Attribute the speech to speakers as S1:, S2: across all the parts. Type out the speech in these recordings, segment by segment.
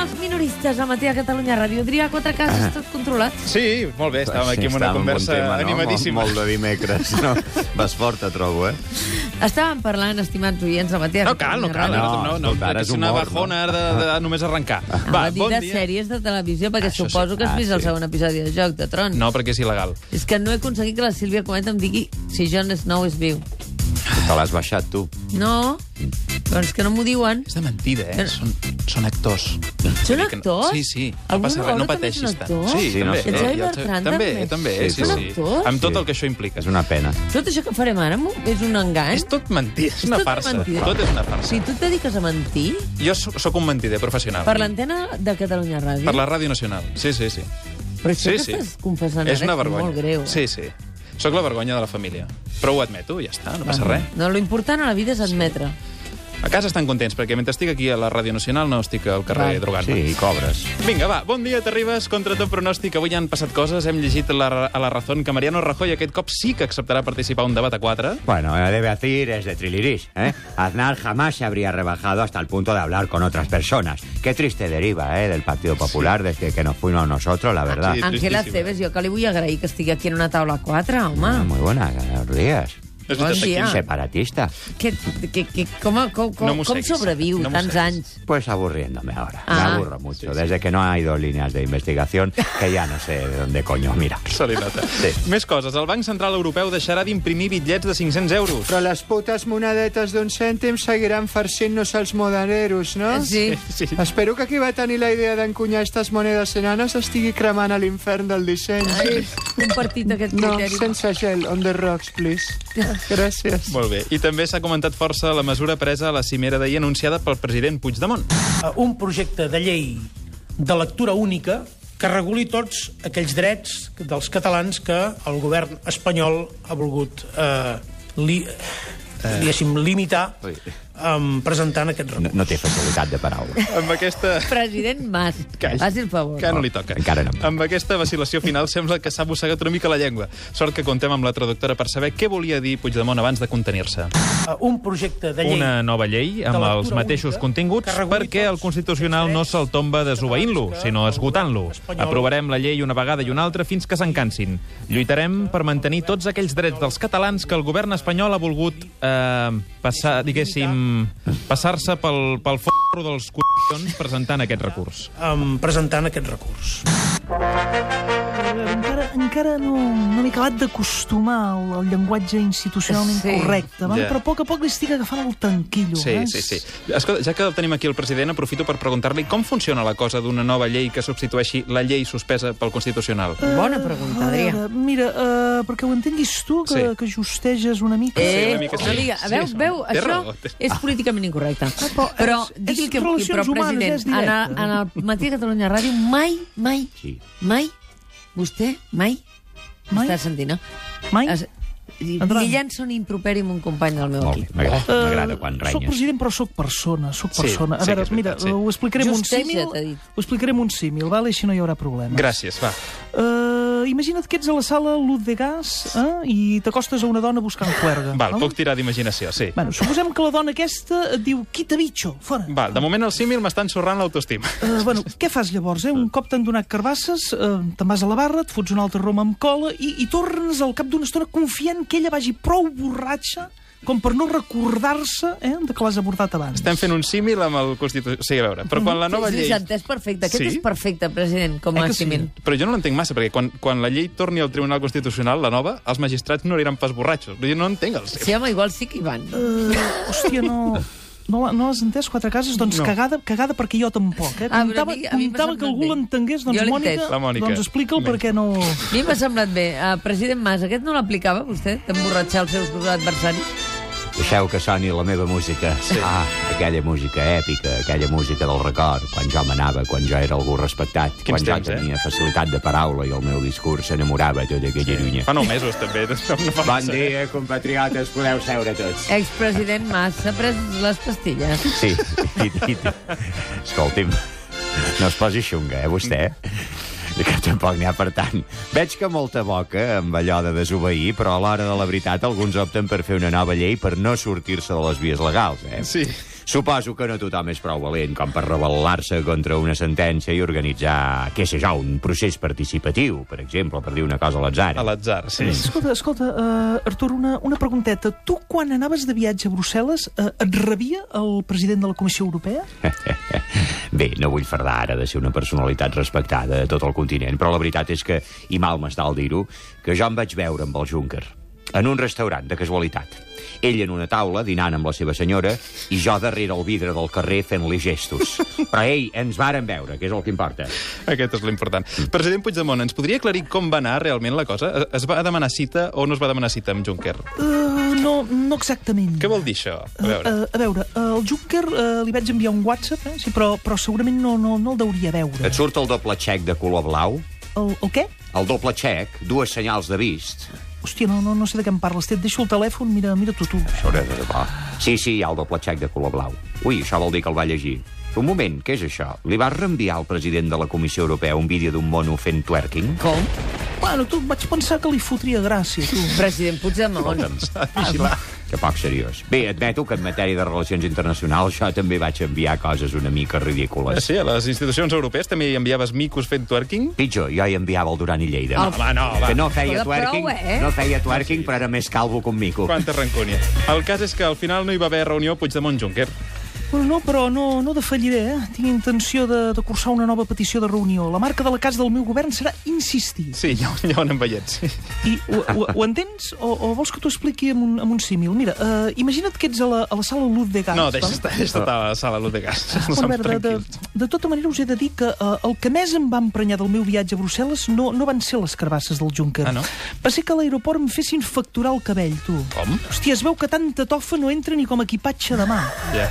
S1: els minoristes al matí a Catalunya Ràdio. Adrià, quatre casos,
S2: Ah.
S1: tot controlat.
S2: Sí, molt
S3: Pues
S2: bé, estàvem aquí amb una
S3: estàvem
S2: conversa
S3: tema, no?
S2: animadíssima.
S3: Molt, molt de dimecres, no? Vas forta, trobo, eh?
S1: Estàvem parlant, estimats oients, al matí a
S2: No cal, no cal.
S1: Ràdio.
S2: No, no, no, Ah.
S3: escolta, ara
S2: és
S3: és
S2: una
S3: humor,
S2: bajona ara de, de només arrencar.
S1: Em Va, dir de sèries de televisió, perquè
S2: Això sí.
S1: suposo que has
S3: Ah,
S1: vist el
S3: sí.
S1: segon episodi de Joc de Trons.
S2: No, perquè és il·legal.
S1: És que no he aconseguit que la Sílvia Cometa em digui si Jon Snow és viu.
S3: Te l'has baixat, tu.
S1: No, doncs que no m'ho diuen.
S2: És de mentida, eh?
S1: Però-
S2: Són, són actors.
S1: Són
S2: Que no-
S1: actors?
S2: Sí, sí. No
S1: Algun
S2: passa res, no
S1: Laura també és un
S2: pateixis tant.
S1: actor?
S2: Sí,
S3: Sí, no
S2: també.
S3: sé. El Xavi
S2: eh,
S1: Bertran
S2: també.
S1: també.
S2: També,
S3: Sí,
S2: sí,
S3: són
S2: sí.
S1: actors?
S2: Amb tot
S3: Sí.
S2: el que això implica.
S3: És una pena.
S1: Tot això que farem ara mo, és un engany?
S2: És tot mentida, és
S1: Eh? És
S2: una
S1: tot
S2: farsa.
S1: mentida.
S2: Tot és una farsa.
S1: Si tu et dediques a mentir,
S2: Jo sóc sóc un mentider professional.
S1: per l'antena de Catalunya Ràdio...
S2: Per la Ràdio Nacional. Sí, sí, sí.
S1: Però això
S2: Sí,
S1: que
S2: sí.
S1: estàs confessant
S2: És
S1: ara
S2: una vergonya.
S1: molt greu. eh?
S2: Sí, sí. Sóc la vergonya de la família. Però ho admeto, ja està, no passa res.
S1: No, lo important a la vida és admetre.
S2: A casa estan contents, perquè mentre estic aquí a la Ràdio Nacional no estic al carrer
S1: Val.
S2: drogant-me.
S3: Sí, i cobres.
S2: Vinga, va, bon dia, t'arribes contra tot pronòstic. Avui ja han passat coses, hem llegit a la, a la Razón que Mariano Rajoy aquest cop sí que acceptarà participar a un debat a quatre.
S3: Bueno, he de decir es de Trilirish, ¿eh? Aznar jamás se habría rebajado hasta el punto de hablar con otras personas. Qué triste deriva, ¿eh? Del Partido Popular desde que nos fuimos nosotros, la verdad.
S2: Sí,
S1: Ángela
S2: tristíssim.
S1: Cebes, jo que li vull agrair que estigui aquí en una taula a quatre, home.
S3: Ah, muy buena, buenos días.
S2: És
S1: Bon
S2: veritat,
S1: dia.
S2: aquí-
S3: Separatista.
S1: Que, que, que, com, com, com,
S2: No m'ho
S1: com
S2: seguis.
S1: sobreviu
S2: No m'ho
S1: tants
S2: seguis.
S1: anys?
S3: Pues aburriéndome ahora.
S1: Ah.
S3: Me aburro mucho. Desde que no ha ido líneas de investigación, que ya no sé de dónde coño mira.
S2: Se li nota.
S3: Sí.
S2: Més coses. El Banc Central Europeu deixarà d'imprimir bitllets de 500 euros.
S4: Però les putes monedetes d'un cèntim seguiran farcint-nos els moneros, no?
S1: Sí.
S2: Sí.
S4: Espero que qui va tenir la idea d'encunyar aquestes monedes enanes estigui cremant a l'infern del disseny.
S1: Ai, compartit aquest
S4: No,
S1: criteri.
S4: sense gel, on the rocks, please. Gràcies.
S2: Molt bé. I també s'ha comentat força la mesura presa a la cimera d'ahir anunciada pel president Puigdemont.
S5: eh, un projecte de llei de lectura única que reguli tots aquells drets dels catalans que el govern espanyol ha volgut eh, li, diguéssim, limitar
S3: Ui.
S5: um, presentant aquest
S3: No,
S5: recurs.
S3: no té facilitat de paraula.
S2: Amb aquesta...
S1: President Mas,
S2: Calla.
S1: faci el favor.
S2: Que no li toca.
S3: Encara no.
S2: Amb aquesta vacil·lació final sembla que s'ha mossegat una mica la llengua. Sort que contem amb la traductora per saber què volia dir Puigdemont abans de contenir-se.
S5: Eh, un projecte de llei...
S2: Una nova llei amb
S5: de lectura
S2: els mateixos
S5: única
S2: continguts
S5: que reguli
S2: perquè el
S5: tots
S2: Constitucional
S5: els
S2: no
S5: drets
S2: se'l tomba
S5: dels catalans
S2: desobeint-lo,
S5: que
S2: sinó
S5: el
S2: esgotant-lo.
S5: govern espanyol-
S2: Aprovarem la llei una vegada i una altra fins que se'n cansin. Lluitarem per mantenir tots aquells drets dels catalans que el govern espanyol ha volgut eh, passar, diguéssim, passar-se pel, pel forro dels collons presentant aquest recurs.
S5: Um, presentant aquest recurs.
S6: Encara, encara no, no m'he acabat d'acostumar al, al llenguatge institucionalment
S1: Sí.
S6: sí. correcte, val?
S2: Ja.
S6: però a poc a poc li estic agafant el tanquillo.
S2: Sí,
S6: eh?
S2: sí, sí. Escolta, ja que el tenim aquí el president, aprofito per preguntar-li com funciona la cosa d'una nova llei que substitueixi la llei suspesa pel Constitucional.
S1: Bona
S6: A
S1: pregunta, Adrià.
S6: veure, mira, uh, perquè ho entenguis tu, que,
S2: Sí.
S6: que justeges una mica...
S1: Eh,
S2: una mica sí.
S1: no diga,
S2: Sí,
S1: veu,
S2: sí.
S1: veu,
S2: Té
S1: això
S2: raó, té-
S1: és políticament incorrecte.
S6: però
S1: Però,
S6: és-
S1: digui el
S6: és
S1: que vulgui, però,
S6: relacions humanes, és
S1: president, en
S6: directe.
S1: el, en el matí de Catalunya Ràdio mai, mai,
S3: Sí.
S1: mai, vostè, mai,
S6: Mai?
S1: està sentint, no?
S6: Mai? Eh,
S1: Es, i-
S6: Endavant.
S1: li llenço un improperi amb un company del meu
S3: Molt bé,
S1: equip.
S3: m'agrada-
S6: Eh,
S3: m'agrada quan
S6: Soc
S3: renyes.
S6: president, però sóc persona, sóc
S2: Sí,
S6: persona.
S2: sí
S6: a
S2: que
S6: veure,
S2: és veritat,
S6: mira,
S2: sí.
S6: ho explicaré amb un
S1: Justeja,
S6: símil,
S1: t'ha dit.
S6: ho explicaré amb un símil, val? així no hi haurà problema.
S2: Gràcies, va.
S6: Uh, imagina't que ets a la sala Luz de Gas eh, i t'acostes a una dona buscant cuerga.
S2: Val, puc tirar d'imaginació, sí.
S6: Bueno, suposem que la dona aquesta et diu quita bitxo, fora.
S2: Val, de moment el símil m'està ensorrant l'autoestima.
S6: Uh, bueno, què fas llavors, eh? Un
S2: Mm.
S6: cop t'han donat carbasses, uh, te'n vas a la barra, et fots un altre rom amb cola i, i tornes al cap d'una estona confiant que ella vagi prou borratxa com per no recordar-se eh, de que l'has abordat abans.
S2: Estem fent un símil amb el Constitució... Sí, a veure, però quan la nova
S1: sí, sí,
S2: llei...
S1: s'ha entès perfecte. Aquest
S2: Sí?
S1: és perfecte, president, com
S6: Eh
S1: a
S6: que sí?
S1: símil.
S2: Però jo no l'entenc massa, perquè quan, quan la llei torni al Tribunal Constitucional, la nova, els magistrats no aniran pas borratxos. Jo no entenc el
S1: Sí.
S2: símil.
S1: home, igual sí que hi van.
S6: Uh, hòstia, no... No, la- no l'has entès, quatre cases? Doncs no. cagada, cagada perquè jo tampoc. Eh?
S1: Ah, però a
S6: Comptava,
S1: mi- a mi m'ha
S6: comptava que
S1: semblat
S6: algú
S1: bé.
S6: l'entengués, doncs
S1: Jo l'he
S6: Mònica,
S1: entès.
S2: La Mònica.
S6: doncs explica'l
S2: Bé.
S6: perquè no...
S1: A mi m'ha semblat bé. Uh, president Mas, aquest no l'aplicava, vostè, d'emborratxar els seus adversaris?
S3: Deixeu que soni la meva música. Sí. Ah, aquella música èpica, aquella música del record, quan jo m'anava, quan jo era algú respectat,
S2: Quins
S3: quan
S2: temps,
S3: jo
S2: eh?
S3: tenia facilitat de paraula i el meu discurs s'enamorava tot aquella sí. llunya.
S2: Fa nou mesos, també. No fa
S3: Bon
S2: massa, eh?
S3: dia, compatriotes, podeu seure tots.
S1: Expresident Mas, s'ha pres les pastilles.
S3: Sí, i, i, escolti'm, no es posi xunga, eh, vostè? Que tampoc n'hi ha per tant. Veig que molta boca amb allò de desobeir, però a l'hora de la veritat alguns opten per fer una nova llei per no sortir-se de les vies legals, eh?
S2: Sí.
S3: Suposo que no tothom és prou valent com per rebel·lar-se contra una sentència i organitzar, què sé jo, un procés participatiu, per exemple, per dir una cosa a l'atzar.
S2: A l'atzar, sí.
S6: Escolta, escolta, uh, Artur, una, una pregunteta. Tu, quan anaves de viatge a Brussel·les, uh, et rebia el president de la Comissió Europea?
S3: Bé, no vull fardar ara de ser una personalitat respectada a tot el continent, però la veritat és que, i mal m'està al dir-ho, que jo em vaig veure amb el Juncker en un restaurant, de casualitat. Ell en una taula, dinant amb la seva senyora, i jo darrere el vidre del carrer fent-li gestos. Però ell, ens varen veure, que és el que importa.
S2: Aquest és l'important. President Puigdemont, ens podria aclarir com va anar realment la cosa? Es- Es va demanar cita o no es va demanar cita amb Juncker?
S6: Uh, no, no exactament.
S2: Què vol dir això?
S3: Eh,
S2: A veure.
S6: Uh, a veure, eh, el Juncker eh, li vaig enviar un WhatsApp, eh? sí, però, però segurament no, no, no el deuria veure.
S3: Et surt el doble xec de color blau?
S6: El, el què?
S3: El doble xec, dues senyals de vist.
S6: Hòstia, no, no, no sé de què em parles. Té, Et deixo el telèfon, mira, mira tu, tu.
S3: Sobre de debò. Sí, sí, hi ha el doble xec de color blau. Ui, això vol dir que el va llegir. Un moment, què és això? Li vas reenviar al president de la Comissió Europea un vídeo d'un mono fent twerking?
S1: Com?
S6: Bueno, tu, vaig pensar que li fotria gràcia, tu.
S1: President Puigdemont.
S3: Escolta'm, que poc seriós. Bé, admeto que en matèria de relacions internacionals jo també vaig enviar coses una mica
S2: Ah,
S3: ridícules.
S2: Sí, a les institucions europees també hi enviaves micos fent twerking?
S3: Pitjor, jo hi enviava el Duran i Lleida.
S1: El-
S2: Home, no, va.
S3: Que no feia
S1: Escolta, prou,
S3: twerking,
S1: eh?
S3: no feia twerking, però era més calvo que un mico.
S2: Quanta rancúnia. El cas és que al final no hi va haver reunió Puigdemont-Juncker.
S6: Bueno, no, però no, no defalliré, eh? Tinc intenció de, de cursar una nova petició de reunió. La marca de la casa del meu govern serà insistir.
S2: Sí, ja, ho- ja ho anem veient, sí.
S6: I ho, ho, ho entens? O, o vols que t'ho expliqui amb un, amb un símil? Mira, eh, imagina't que ets a la, a la sala Luz
S3: Ah,
S6: de Gans.
S2: No,
S6: val?
S2: deixa estar, deixa estar a la sala Luz de Gas. No
S6: Bueno, a
S2: som
S6: veure, de,
S2: tranquils.
S6: de, de tota manera us he de dir que eh, el que més em va emprenyar del meu viatge a Brussel·les no, no van ser les carbasses del Juncker.
S2: Ah, no?
S6: Va ser que a l'aeroport em fessin facturar el cabell, tu.
S2: Com?
S6: Hòstia, es veu que tanta tofa no entra ni com a equipatge de mà.
S2: Ja.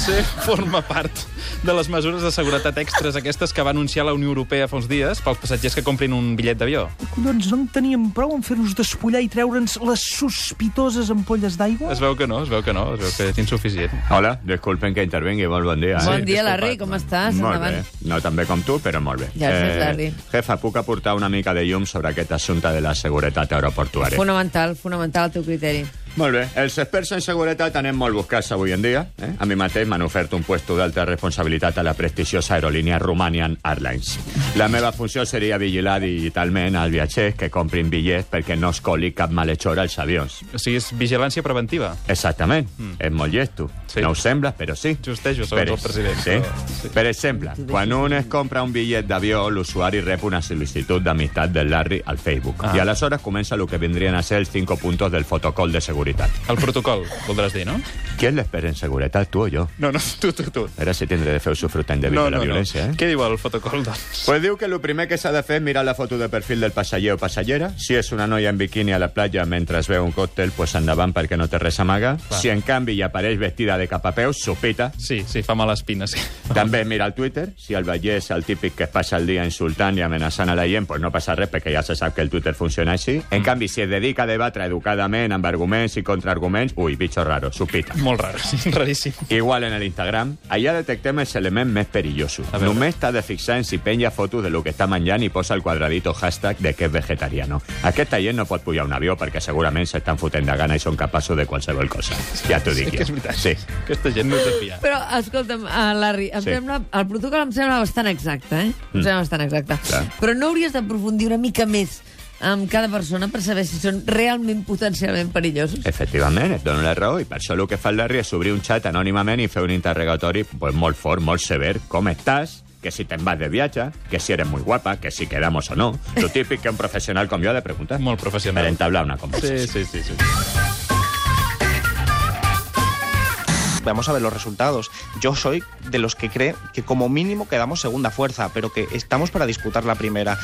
S2: Potser forma part de les mesures de seguretat extres aquestes que va anunciar la Unió Europea fa uns dies pels passatgers que comprin un bitllet d'avió.
S6: Collons, no en teníem prou en fer-nos despullar i treure'ns les sospitoses ampolles d'aigua?
S2: Es veu que no, es veu que no, es veu que és insuficient.
S3: Hola, disculpen que intervengui, molt bon dia. eh?
S1: Bon
S2: Sí,
S1: dia,
S2: disculpa.
S1: Larry, com estàs?
S3: Molt
S1: Endavant.
S3: bé. No tan bé com tu, però molt bé. Eh,
S1: Gràcies, Larry.
S3: Jefa, puc aportar una mica de llum sobre aquest assumpte de la seguretat aeroportuària?
S1: Fonamental, fonamental el teu criteri.
S3: Molt bé. Els experts en seguretat anem molt buscats avui en dia. Eh? A mi mateix m'han ofert un puesto d'alta responsabilitat a la prestigiosa aerolínia Romanian Airlines. La meva funció seria vigilar digitalment als viatgers que comprin bitllets perquè no es coli cap malhechor als avions.
S2: O sigui, és vigilància preventiva.
S3: Exactament. Mm. És molt llesto.
S2: Sí.
S3: Sí. No ho sembla, però sí.
S2: Justejo, segons el president,
S3: Sí.
S2: però-
S3: sí. Per exemple, quan un es compra un bitllet d'avió, l'usuari rep una sol·licitud d'amistat del Larry al Facebook.
S2: Ah.
S3: Ah. I aleshores comença el que vendrien a ser els 5 puntos del fotocol de seguretat.
S2: El protocol, voldràs dir, no?
S3: ¿Quién le espera en seguretat, tu o jo?
S2: No, no, tu, tu, tu.
S3: Ara se tindré de fer usufructar indebido
S2: No,
S3: de la
S2: no, no.
S3: violència, eh?
S2: Què diu el protocol, doncs?
S3: Pues diu que el primer que s'ha de fer és mirar la foto de perfil del passaller o passallera. Si és una noia en biquini a la platja mentre es veu un còctel, pues endavant perquè no té res a amagar. Si en canvi hi apareix vestida de capapeus, sopita.
S2: Sí, sí, fa mala espina, sí.
S3: També mira el Twitter. Si el veiés el típic que es passa el dia insultant i amenaçant a la gent, pues no passa res, perquè ja se sap que el Twitter funciona així.
S2: Mm.
S3: En canvi, si es dedica a debatre educadament amb arguments i contraarguments, ui, bitxo raro, sopita.
S2: Molt raro, sí, raríssim.
S3: Igual en el Instagram, allà detectem els elements més perillosos.
S2: A veure.
S3: Només t'ha de fixar en si penya fotos de lo que està menjant i posa el quadradito hashtag de que és vegetariano. Aquesta gent no pot pujar a un avió perquè segurament s'estan fotent de gana i són capaços de qualsevol cosa. Ja t'ho dic
S2: Sí, que
S3: jo.
S2: és veritat.
S3: Sí.
S2: Aquesta gent no és de fiar.
S1: Però, escolta'm, eh, Larry, em
S3: Sí. Mm.
S1: sembla, el protocol em sembla bastant exacte, eh? Em sembla bastant exacte.
S3: Clar.
S1: Però no hauries d'aprofundir una mica més amb cada persona per saber si són realment potencialment perillosos?
S3: Efectivament, et dono la raó, i per això el que fa el Larry és obrir un xat anònimament i fer un interrogatori pues, molt fort, molt sever. Com estàs? Que si te'n vas de viatge, que si eres muy guapa, que si quedamos o no. Lo típic que un professional com jo ha de preguntar.
S2: Molt professional.
S3: Per entablar una conversació.
S2: Sí, sí, sí, sí.
S7: Vamos a ver los resultados. Yo soy de los que cree que como mínimo quedamos segunda fuerza, pero que estamos para disputar la primera.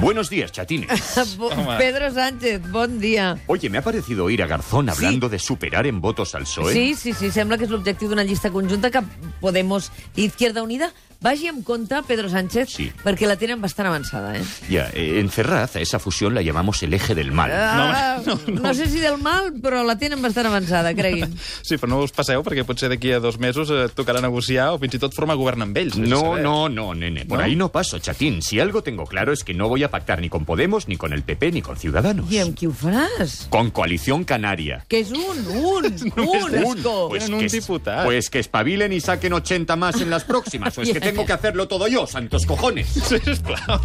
S3: Buenos días, chatines.
S1: Bo-
S2: Home.
S1: Pedro Sánchez, bon dia.
S3: Oye, me ha parecido oír a Garzón hablando de superar en votos al PSOE.
S1: Sí, sí, sí, sembla que és l'objectiu d'una llista conjunta que Podemos i Izquierda Unida Vagi amb compte, Pedro Sánchez,
S3: Sí.
S1: perquè la tenen bastant avançada, eh?
S3: Ya, eh, en Ferraz a esa fusión la llamamos el eje del mal.
S1: Ah, no, no, sé si del mal, però la tenen bastant avançada, creguin.
S2: Sí, però no us passeu, perquè potser d'aquí a dos mesos eh, tocarà negociar o fins i tot formar govern amb ells. vés a
S3: No,
S2: saber.
S3: no, no, nene. Por
S2: ¿No?
S3: ahí no paso, chatín. Si algo tengo claro es que no voy a pactar ni con Podemos, ni con el PP, ni con Ciudadanos.
S1: I amb qui ho faràs?
S3: Con Coalición Canaria.
S1: Que és un, un, un, Esco.
S3: Pues
S2: Eran Oh, un
S3: que, es-
S2: diputado.
S3: pues que espabilen y saquen 80 más en las próximas. O es que tengo que hacerlo todo yo, santos cojones.
S2: Sí, esclar.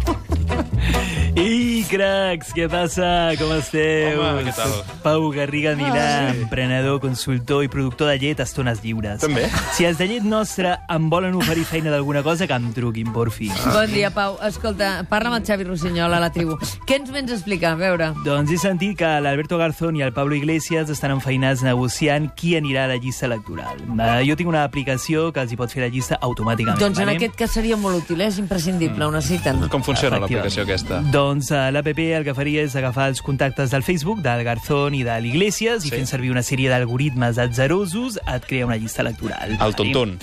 S8: Ei, cracs, què passa? Com esteu?
S2: Home, què tal?
S8: Soc Pau Garriga Milà, emprenedor, consultor i productor de llet a estones lliures.
S2: També.
S8: Si els de llet nostra em volen oferir feina d'alguna cosa, que em truquin, por fi.
S1: Bon dia, Pau. Escolta, parla amb el Xavi Rossinyol a la tribu. Què ens vens a explicar? A veure.
S8: Doncs he sentit que l'Alberto Garzón i el Pablo Iglesias estan enfeinats negociant qui anirà a la llista electoral. Eh, jo tinc una aplicació que els hi pot fer la llista automàticament.
S1: Doncs en
S8: vale?
S1: aquest cas seria molt útil, eh? és imprescindible, ho necessiten.
S2: Com funciona
S8: Efectivament.
S2: l'aplicació aquesta?
S8: Doncs eh, l'APP el que faria és agafar els contactes del Facebook, del Garzón i de l'Iglesias sí. i fent servir una sèrie d'algoritmes atzerosos et crea una llista electoral.
S2: El tontón.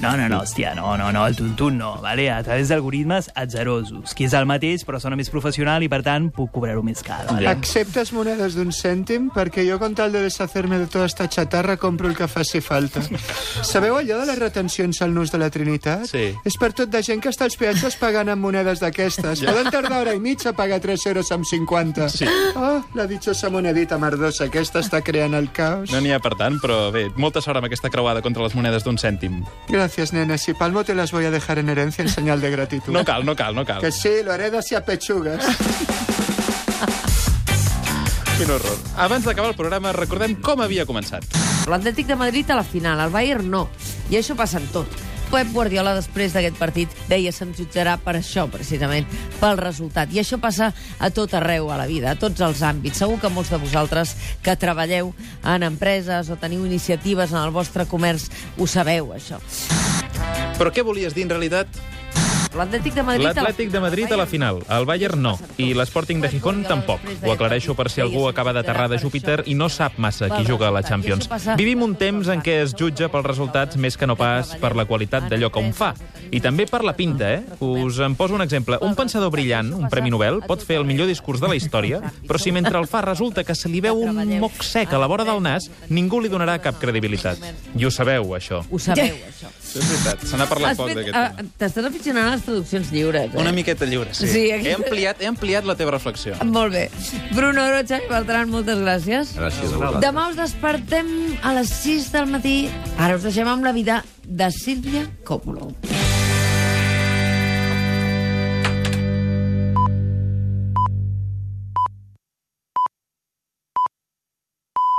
S8: No, no, no, hòstia, no, no, no, el tuntun no, vale? a través d'algoritmes atzerosos, que és el mateix però sona més professional i per tant puc cobrar-ho més car. Vale?
S4: ¿Aceptas monedas de un cèntim? Perquè jo, con tal de deshacerme de toda esta chatarra, compro el que faci falta. Sabeu allò de les retencions al nus de la Trinitat?
S2: Sí.
S4: És per tot de gent que està als peatges pagant amb monedes d'aquestes. Poden tardar hora i mitja a pagar 3 euros amb 50. Sí. Oh, la dichosa monedita merdosa aquesta està creant el caos.
S2: No n'hi ha per tant, però bé, molta sort amb aquesta creuada contra les monedes d'un cèntim.
S4: Gracias, nena. Si palmo, te las voy a dejar en herencia en señal de gratitud.
S2: No cal, no cal, no cal.
S4: eh? Que sí, lo heredas y a pechugas.
S2: Quin horror. Abans d'acabar el programa, recordem com havia començat.
S1: L'Atlètic de Madrid a la final, el Bayern no. I això passa en tot. Pep Guardiola, després d'aquest partit, deia se'm jutjarà per això, precisament, pel resultat. I això passa a tot arreu, a la vida, a tots els àmbits. Segur que molts de vosaltres que treballeu en empreses o teniu iniciatives en el vostre comerç ho sabeu, això.
S2: Però què volies dir en realitat?
S1: L'Atlètic de Madrid... a la
S2: L'Atlètic de Madrid a la final, el Bayern no, i l'Sporting de Gijón tampoc. Ho aclareixo per si algú acaba d'aterrar de Júpiter i no sap massa qui juga a la Champions. Vivim un temps en què es jutja pels resultats més que no pas per la qualitat d'allò que un fa. I també per la pinta, eh? Us en poso un exemple. Un pensador brillant, un Premi Nobel, pot fer el millor discurs de la història, però si mentre el fa resulta que se li veu un moc sec a la vora del nas, ningú li donarà cap credibilitat. I ho sabeu, això.
S1: Ho sabeu, això.
S2: És veritat, se n'ha
S1: Has fet- ah, T'estàs aficionant a les traduccions lliures, eh?
S2: Una miqueta lliure, sí.
S1: Sí,
S2: he,
S1: aquesta-
S2: ampliat, he ampliat la teva reflexió.
S1: Molt bé. Bruno Oro, Xavi Beltran, moltes gràcies.
S3: Gracias,
S1: Demà us despertem a les 6 del matí. Ara us deixem amb la vida de Sílvia Coppola.